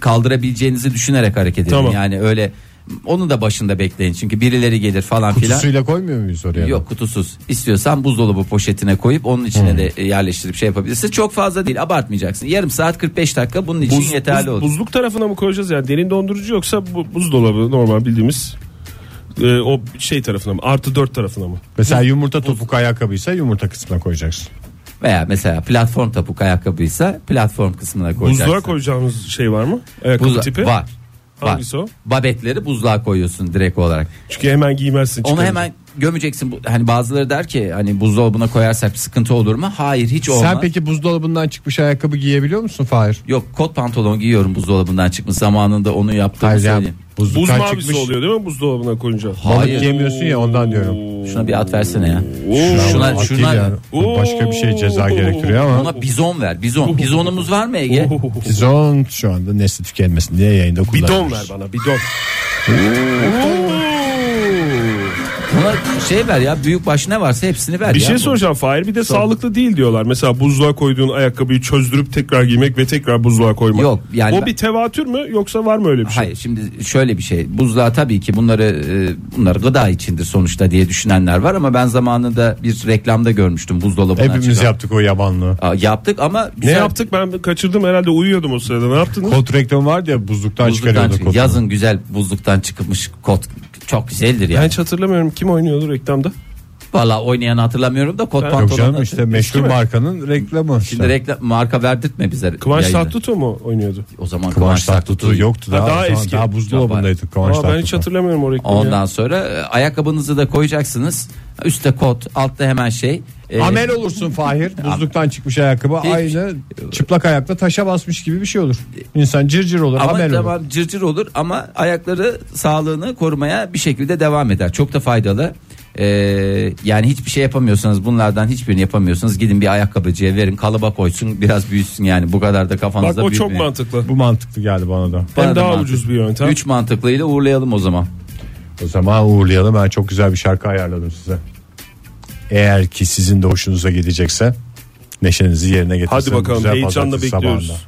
Speaker 5: kaldırabileceğinizi düşünerek hareket edin.
Speaker 4: Tamam.
Speaker 5: Yani öyle onu da başında bekleyin. Çünkü birileri gelir falan filan.
Speaker 3: Kutusuyla koymuyor muyuz oraya? da?
Speaker 5: Yok kutusuz. İstiyorsan buzdolabı poşetine koyup onun içine
Speaker 4: Hmm.
Speaker 5: de yerleştirip şey yapabilirsin. Çok fazla değil abartmayacaksın. Yarım saat 45 dakika bunun için
Speaker 4: Buz-
Speaker 5: yeterli
Speaker 4: buz-
Speaker 5: olur.
Speaker 4: Buzluk tarafına mı koyacağız yani derin dondurucu yoksa bu, buzdolabı normal bildiğimiz e, o şey tarafına mı artı dört tarafına mı?
Speaker 3: Mesela yumurta topuk ayakkabıysa yumurta kısmına koyacaksın.
Speaker 5: Veya mesela platform topuk ayakkabıysa platform kısmına koyacaksın.
Speaker 4: Buzluğa koyacağımız şey var mı? Ayakkabı
Speaker 5: Buzluğa-
Speaker 4: tipi?
Speaker 5: Var.
Speaker 4: Hangisi
Speaker 5: var.
Speaker 4: o?
Speaker 5: Babetleri buzluğa koyuyorsun direkt olarak.
Speaker 4: Çünkü hemen giymezsin.
Speaker 5: Onu
Speaker 4: çıkarınca.
Speaker 5: hemen gömeceksin. Bu- Hani bazıları der ki hani buzdolabına koyarsak bir sıkıntı olur mu? Hayır hiç olmaz.
Speaker 3: Sen peki buzdolabından çıkmış ayakkabı giyebiliyor musun Fahir?
Speaker 5: Yok kot pantolon giyiyorum buzdolabından çıkmış zamanında onu yaptığımı
Speaker 3: Hayır ya,
Speaker 5: söyleyeyim.
Speaker 4: Buz
Speaker 3: buzluktan
Speaker 4: mavisi
Speaker 3: çıkmış.
Speaker 4: oluyor değil mi buzdolabına koyunca?
Speaker 3: Balık yemiyorsun ya ondan diyorum.
Speaker 5: Şuna bir at versene ya.
Speaker 4: Oo.
Speaker 5: Şuna
Speaker 3: Akil
Speaker 5: şuna
Speaker 3: yani.
Speaker 4: Oo.
Speaker 3: Başka bir şey ceza gerektiriyor ama.
Speaker 5: ona bizon ver.
Speaker 4: <laughs>
Speaker 5: Bizon. Bizonumuz var mı Ege?
Speaker 3: Bizon şu anda nesli tükenmesin diye yayında kullanıyoruz.
Speaker 4: Bidon ver bana bidon.
Speaker 5: Ona şey ver ya büyük baş ne varsa hepsini ver
Speaker 4: Bir
Speaker 5: ya.
Speaker 4: şey soracağım Fahir bir de sağlıklı değil diyorlar. Mesela buzluğa koyduğun ayakkabıyı çözdürüp tekrar giymek ve tekrar buzluğa koymak.
Speaker 5: Yok, yani
Speaker 4: O
Speaker 5: ben-
Speaker 4: bir tevatür mü yoksa var mı öyle bir şey?
Speaker 5: Hayır şimdi şöyle bir şey buzluğa tabii ki bunları e, bunlar gıda içindir sonuçta diye düşünenler var ama ben zamanında bir reklamda görmüştüm buzdolabından
Speaker 3: Hepimiz
Speaker 5: çıkan.
Speaker 3: yaptık o yabanlığı.
Speaker 5: Aa, yaptık ama
Speaker 4: Ne
Speaker 5: güzel-
Speaker 4: yaptık ben kaçırdım herhalde uyuyordum o sırada ne yaptınız?
Speaker 3: Kot reklamı vardı ya buzluktan,
Speaker 5: Buzluktan
Speaker 3: çıkarıyorduk
Speaker 5: çık-
Speaker 3: kotu.
Speaker 5: yazın güzel buzluktan çıkmış kot çok güzeldir
Speaker 4: Ben
Speaker 5: yani.
Speaker 4: hiç hatırlamıyorum kim oynuyordu reklamda.
Speaker 5: Vallahi oynayanı hatırlamıyorum da kot pantolon.
Speaker 3: Yok canım işte meşhur markanın reklamı.
Speaker 5: Şimdi
Speaker 3: işte.
Speaker 5: reklam marka verdirtme bize.
Speaker 4: Kıvanç
Speaker 5: yayını.
Speaker 4: Tatlıtuğ mu oynuyordu?
Speaker 5: O zaman
Speaker 3: Kıvanç
Speaker 5: Kıvanç,
Speaker 3: Tatlıtuğ yoktu
Speaker 4: Ha,
Speaker 3: daha.
Speaker 4: daha
Speaker 3: o zaman
Speaker 4: eski.
Speaker 3: Daha buzdolabındaydık Kıvanç
Speaker 4: Aa, ben hiç
Speaker 3: Tatlıtuğ.
Speaker 4: hatırlamıyorum o reklamı. ya.
Speaker 5: Ondan sonra e, ayakkabınızı da koyacaksınız. Üste kot, altta hemen şey. E,
Speaker 3: Amel olursun Fahir. Buzluktan çıkmış ayakkabı
Speaker 5: Hiç-
Speaker 3: aynı çıplak ayakla taşa basmış gibi bir şey olur. İnsan cırcır olur,
Speaker 5: ama
Speaker 3: amel olur.
Speaker 5: tamam cırcır olur ama ayakları sağlığını korumaya bir şekilde devam eder. Çok da faydalı. E, yani hiçbir şey yapamıyorsanız bunlardan hiçbirini yapamıyorsanız gidin bir ayakkabıcıya verin kalıba koysun biraz büyüsün yani bu kadar da
Speaker 4: Bak
Speaker 5: kafanızda
Speaker 4: o çok
Speaker 5: büyütmeyin.
Speaker 4: mantıklı.
Speaker 3: Bu mantıklı geldi bana da.
Speaker 5: Bana
Speaker 4: Hem
Speaker 5: da
Speaker 4: daha
Speaker 5: mantıklı.
Speaker 4: ucuz bir yöntem.
Speaker 5: Üç mantıklıyla uğurlayalım o zaman.
Speaker 3: O zaman uğurlayalım. Ben çok güzel bir şarkı ayarladım size. Eğer ki sizin de hoşunuza gidecekse neşenizi yerine getirsin.
Speaker 4: Hadi bakalım,
Speaker 3: Güzel
Speaker 4: heyecanla
Speaker 3: pazartesi
Speaker 4: bekliyoruz.
Speaker 3: sabahında.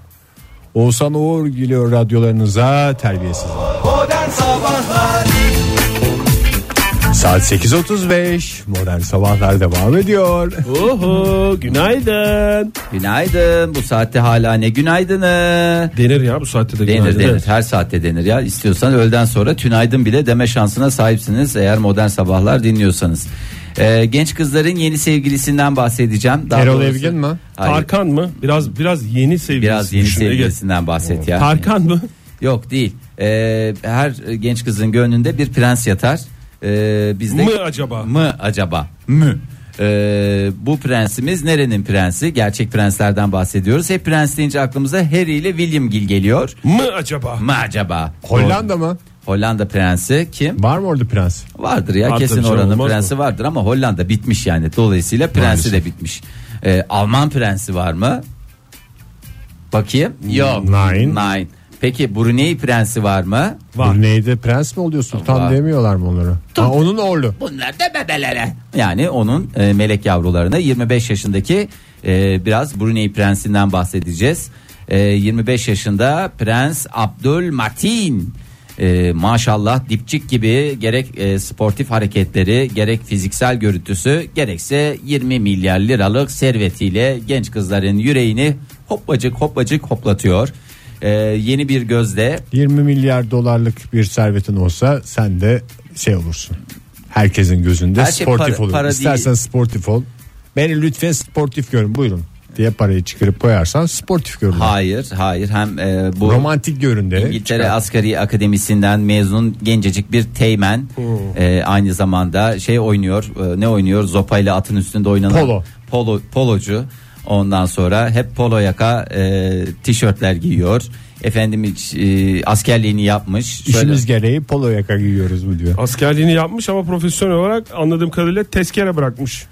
Speaker 3: Oğuzhan Uğur geliyor radyolarınıza terbiyesiz.
Speaker 2: Modern Sabahlar
Speaker 3: Saat 8.35 modern sabahlar devam ediyor.
Speaker 4: Oho günaydın.
Speaker 5: Günaydın. Bu saatte hala ne günaydını?
Speaker 4: Denir ya bu saatte de
Speaker 5: Denir
Speaker 4: günaydın.
Speaker 5: denir.
Speaker 4: Evet.
Speaker 5: Her saatte denir ya. İstiyorsan öğleden sonra tünaydın bile deme şansına sahipsiniz eğer modern sabahlar dinliyorsanız. Ee, genç kızların yeni sevgilisinden bahsedeceğim. Daha
Speaker 3: Erol
Speaker 5: doğrusu-
Speaker 3: Evgin mi?
Speaker 5: Hayır,
Speaker 4: Tarkan mı? Biraz biraz yeni sevgilisi.
Speaker 5: Biraz yeni
Speaker 4: düşün Ege.
Speaker 5: sevgilisinden bahset ya.
Speaker 4: Tarkan mı?
Speaker 5: Yok değil. Ee, her genç kızın gönlünde bir prens yatar. Ee, bizde
Speaker 4: Mı acaba?
Speaker 5: Mı acaba? Mü. Ee, bu prensimiz nerenin prensi? Gerçek prenslerden bahsediyoruz. Hep prens deyince aklımıza Harry ile William Gil geliyor.
Speaker 4: Mı acaba?
Speaker 5: Mı acaba?
Speaker 3: Hollanda mı?
Speaker 5: Hollanda prensi kim?
Speaker 3: Var mı orada prens?
Speaker 5: Vardır ya
Speaker 4: Vardır
Speaker 5: kesin
Speaker 4: canım,
Speaker 5: oranın
Speaker 4: olmaz
Speaker 5: prensi vardır ama Hollanda bitmiş yani. Dolayısıyla prensi de bitmiş. Ee, Alman prensi var mı? Bakayım. Yok.
Speaker 3: Nein.
Speaker 5: Nein. Peki Brunei prensi var mı?
Speaker 4: Var.
Speaker 3: Brunei'de prens mi oluyor sultan
Speaker 5: Var.
Speaker 3: demiyorlar mı onlara? Ha, onun oğlu.
Speaker 5: Bunlar da bebelere. Yani onun e, melek yavrularına 25 yaşındaki e, biraz Brunei prensinden bahsedeceğiz. E, 25 yaşında Prens Abdülmatin. E, maşallah dipçik gibi gerek e, sportif hareketleri gerek fiziksel görüntüsü gerekse 20 milyar liralık servetiyle genç kızların yüreğini hoppacık hoppacık hoplatıyor. E, yeni bir gözle
Speaker 3: 20 milyar dolarlık bir servetin olsa sen de şey olursun. Herkesin gözünde
Speaker 5: Her şey
Speaker 3: sportif
Speaker 5: para-
Speaker 3: olur.
Speaker 5: para
Speaker 3: İstersen
Speaker 5: değil.
Speaker 3: sportif ol. Beni lütfen sportif görün buyurun diye parayı çıkarıp koyarsan sportif görünür.
Speaker 5: hayır hayır hem e, bu
Speaker 3: Romantik görün de.
Speaker 5: İngiltere
Speaker 3: çıkar.
Speaker 5: Asgari Akademisi'nden mezun gencecik bir teğmen
Speaker 3: Hmm.
Speaker 5: Ee, aynı zamanda şey oynuyor e, ne oynuyor zopayla atın üstünde oynanan
Speaker 3: Polo.
Speaker 5: polo polocu ondan sonra hep polo yaka e, tişörtler giyiyor efendim hiç, e, askerliğini yapmış
Speaker 3: İşimiz
Speaker 5: Şöyle-
Speaker 3: gereği polo yaka giyiyoruz bu diyor.
Speaker 4: Askerliğini yapmış ama profesyonel olarak anladığım kadarıyla tezkere bırakmış.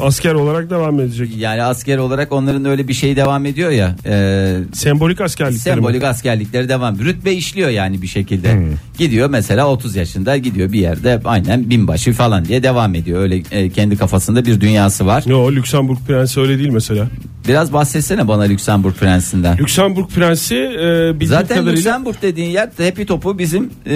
Speaker 4: Asker olarak devam edecek.
Speaker 5: yani asker olarak onların öyle bir şey devam ediyor ya e,
Speaker 4: Sembolik askerlik.
Speaker 5: Sembolik askerlikleri devam. Rütbe işliyor yani bir şekilde. Gidiyor mesela 30 yaşında gidiyor bir yerde aynen binbaşı falan diye devam ediyor. Öyle e, kendi kafasında bir dünyası var.
Speaker 4: Yo Lüksemburg prensi öyle değil mesela.
Speaker 5: Biraz bahsetsene bana Lüksemburg prensinden.
Speaker 4: Lüksemburg prensi e, bildiğim
Speaker 5: Zaten
Speaker 4: kadarıyla
Speaker 5: Lüksemburg dediğin yer Happy Topu bizim e,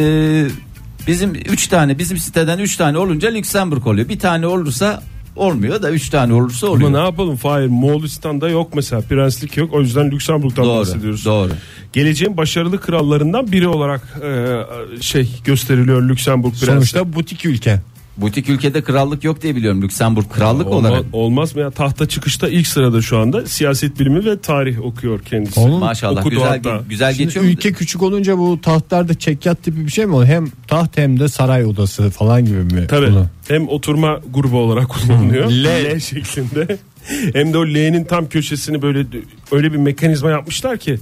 Speaker 5: bizim 3 tane bizim siteden 3 tane olunca Lüksemburg oluyor. Bir tane olursa olmuyor da 3 tane olursa
Speaker 4: ama
Speaker 5: oluyor.
Speaker 4: ne yapalım Fahir Moğolistan'da yok mesela prenslik yok o yüzden Lüksemburg'dan
Speaker 5: Doğru.
Speaker 4: bahsediyoruz.
Speaker 5: Doğru.
Speaker 4: Geleceğin başarılı krallarından biri olarak e, şey gösteriliyor Lüksemburg prensi.
Speaker 3: Sonuçta butik ülke.
Speaker 5: Butik ülkede krallık yok diye biliyorum. Lüksemburg krallık
Speaker 4: Olma-
Speaker 5: olarak.
Speaker 4: Olmaz mı ya? Tahta çıkışta ilk sırada şu anda siyaset bilimi ve tarih okuyor kendisi.
Speaker 3: Oğlum,
Speaker 5: Maşallah
Speaker 4: Okudu
Speaker 5: güzel
Speaker 4: hatta.
Speaker 5: güzel
Speaker 3: Şimdi
Speaker 5: geçiyor. mu?
Speaker 3: ülke küçük olunca bu tahtlarda çekyat tipi bir şey mi oluyor? Hem taht hem de saray odası falan gibi mi?
Speaker 4: Tabii.
Speaker 3: Bunu-
Speaker 4: Hem oturma grubu olarak <laughs> kullanılıyor.
Speaker 3: L.
Speaker 4: L. şeklinde. Hem de o L'nin tam köşesini böyle öyle bir mekanizma yapmışlar ki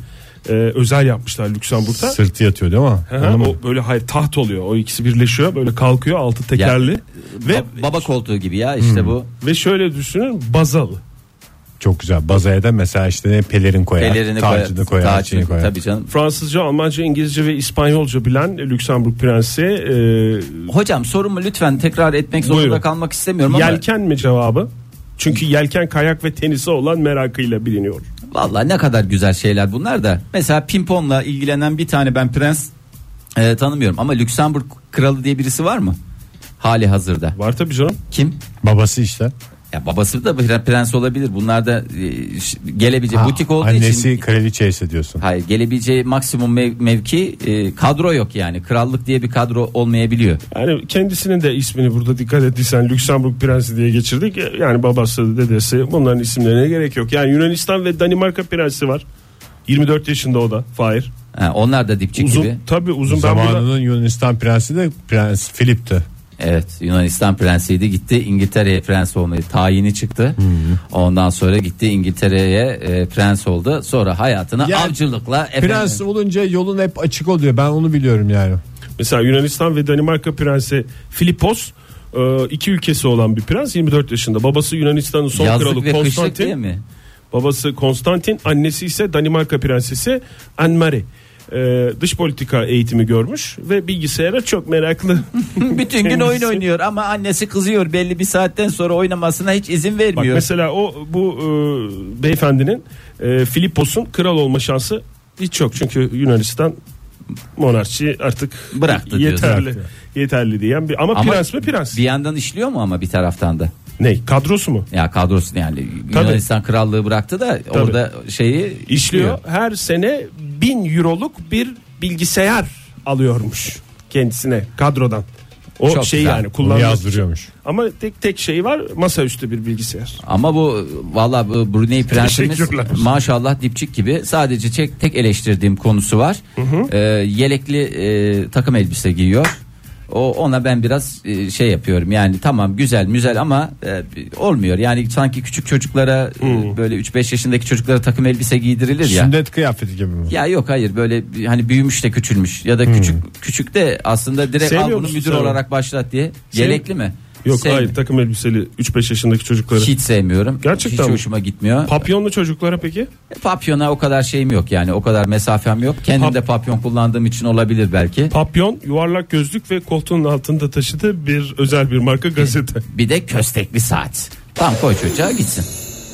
Speaker 4: e, özel yapmışlar Lüksemburg'da.
Speaker 3: Sırtı yatıyor değil mi?
Speaker 4: Hı hı,
Speaker 3: Onu mu?
Speaker 4: o böyle hayır taht oluyor. O ikisi birleşiyor. Böyle kalkıyor altı tekerli. ve
Speaker 5: Ba- baba koltuğu gibi ya
Speaker 3: Hmm.
Speaker 5: işte bu.
Speaker 4: ve şöyle düşünün bazalı.
Speaker 3: Çok güzel. Bazaya da mesela işte ne pelerin koyar,
Speaker 5: Pelerini
Speaker 3: tacını koyar,
Speaker 5: tacını
Speaker 3: şeyini koyar.
Speaker 5: Tabii canım.
Speaker 4: Fransızca, Almanca, İngilizce ve İspanyolca bilen Lüksemburg prensi e,
Speaker 5: Hocam sorumu lütfen tekrar etmek zorunda
Speaker 4: Buyurun.
Speaker 5: kalmak istemiyorum ama
Speaker 4: yelken mi cevabı? Çünkü yelken kayak ve tenisi olan merakıyla biliniyor.
Speaker 5: Vallahi ne kadar güzel şeyler bunlar da. Mesela pimponla ilgilenen bir tane ben prens e, tanımıyorum ama Lüksemburg kralı diye birisi var mı? Hali hazırda.
Speaker 4: Var tabii canım.
Speaker 5: Kim?
Speaker 3: Babası işte.
Speaker 5: Ya babası da pre- prens olabilir. Bunlar da e, ş- gelebileceği
Speaker 3: Ha,
Speaker 5: butik olduğu
Speaker 3: Annesi
Speaker 5: için.
Speaker 3: kraliçe hissediyorsun.
Speaker 5: Hayır gelebileceği maksimum mev- mevki e, kadro yok yani. Krallık diye bir kadro olmayabiliyor.
Speaker 4: Yani kendisinin de ismini burada dikkat ettiysen Lüksemburg Prensi diye geçirdik. E, Yani babası, dedesi bunların isimlerine gerek yok. Yani Yunanistan ve Danimarka Prensi var. 24 yaşında o da Fahir.
Speaker 5: Ha, onlar da dipçik gibi.
Speaker 4: Uzun tabii uzun ben
Speaker 3: Zamanının
Speaker 4: burada
Speaker 3: Yunanistan prensi de Prens Filip'ti.
Speaker 5: Evet Yunanistan prensiydi gitti İngiltere'ye prens olmayı tayini çıktı. Ondan sonra gitti İngiltere'ye e, prens oldu. Sonra hayatına
Speaker 3: Yani
Speaker 5: avcılıkla efendim,
Speaker 3: Prens olunca yolun hep açık oluyor. Ben onu biliyorum yani.
Speaker 4: mesela Yunanistan ve Danimarka Prensi Filipos e, iki ülkesi olan bir prens 24 yaşında. Babası Yunanistan'ın son
Speaker 5: yazlık
Speaker 4: kralı
Speaker 5: ve kışlık değil
Speaker 4: Konstantin.
Speaker 5: mi?
Speaker 4: Babası Konstantin, annesi ise Danimarka prensesi Anne Marie. E, dış politika eğitimi görmüş ve bilgisayara
Speaker 5: <laughs>
Speaker 4: çok meraklı.
Speaker 5: Bütün gün
Speaker 4: Kendisi-
Speaker 5: oyun oynuyor ama annesi kızıyor belli bir saatten sonra oynamasına hiç izin
Speaker 4: Bak
Speaker 5: vermiyor.
Speaker 4: mesela o bu e, beyefendinin e, Filipos'un kral olma şansı hiç yok. Çünkü Yunanistan monarşi artık
Speaker 5: Bıraktı diyorsun.
Speaker 4: yeterli
Speaker 5: Bıraktı.
Speaker 4: yeterli diyen bir ama,
Speaker 5: Ama
Speaker 4: prens mi prens?
Speaker 5: Bir yandan işliyor mu ama bir taraftan da?
Speaker 4: Ne kadrosu mu?
Speaker 5: Ya kadrosu yani Yunanistan krallığı bıraktı da orada şeyi
Speaker 4: İşliyor. Her sene bin euroluk bir bilgisayar alıyormuş kendisine kadrodan. O
Speaker 5: Çok
Speaker 4: şey
Speaker 5: güzel.
Speaker 4: yani
Speaker 3: Onu
Speaker 4: kullanmak
Speaker 3: yazdırıyormuş.
Speaker 4: için. Ama tek tek şey var masaüstü bir bilgisayar.
Speaker 5: Ama bu valla bu Brunei prensimiz
Speaker 4: Teşekkürler.
Speaker 5: maşallah dipçik gibi sadece tek, tek eleştirdiğim konusu var. Ee, yelekli e, takım elbise giyiyor. O ona ben biraz e, şey yapıyorum. Yani tamam güzel güzel ama e, olmuyor. Yani sanki küçük çocuklara e, böyle 3-5 yaşındaki çocuklara takım elbise giydirilir ya.
Speaker 3: Sünnet kıyafeti gibi mi?
Speaker 5: Ya yok hayır böyle bir- hani büyümüş de küçülmüş ya da küçük küçük de aslında direkt
Speaker 4: Sevmiyor
Speaker 5: al bunu
Speaker 4: musun
Speaker 5: müdür
Speaker 4: sen onu?
Speaker 5: olarak başlat diye. Yelekli mi?
Speaker 4: Yok
Speaker 5: Sevmi-
Speaker 4: hayır takım elbiseli 3-5 yaşındaki çocukları.
Speaker 5: Hiç sevmiyorum.
Speaker 4: Gerçekten
Speaker 5: Hiç
Speaker 4: mi?
Speaker 5: hoşuma gitmiyor.
Speaker 4: Papyonlu çocuklara peki?
Speaker 5: Papyona o kadar şeyim yok yani o kadar mesafem yok. Kendim
Speaker 4: Pap-
Speaker 5: de papyon kullandığım için olabilir belki.
Speaker 4: Papyon, yuvarlak gözlük ve koltuğun altında taşıdığı bir özel bir marka gazete.
Speaker 5: Bir de köstekli saat. Tam koy çocuğa gitsin.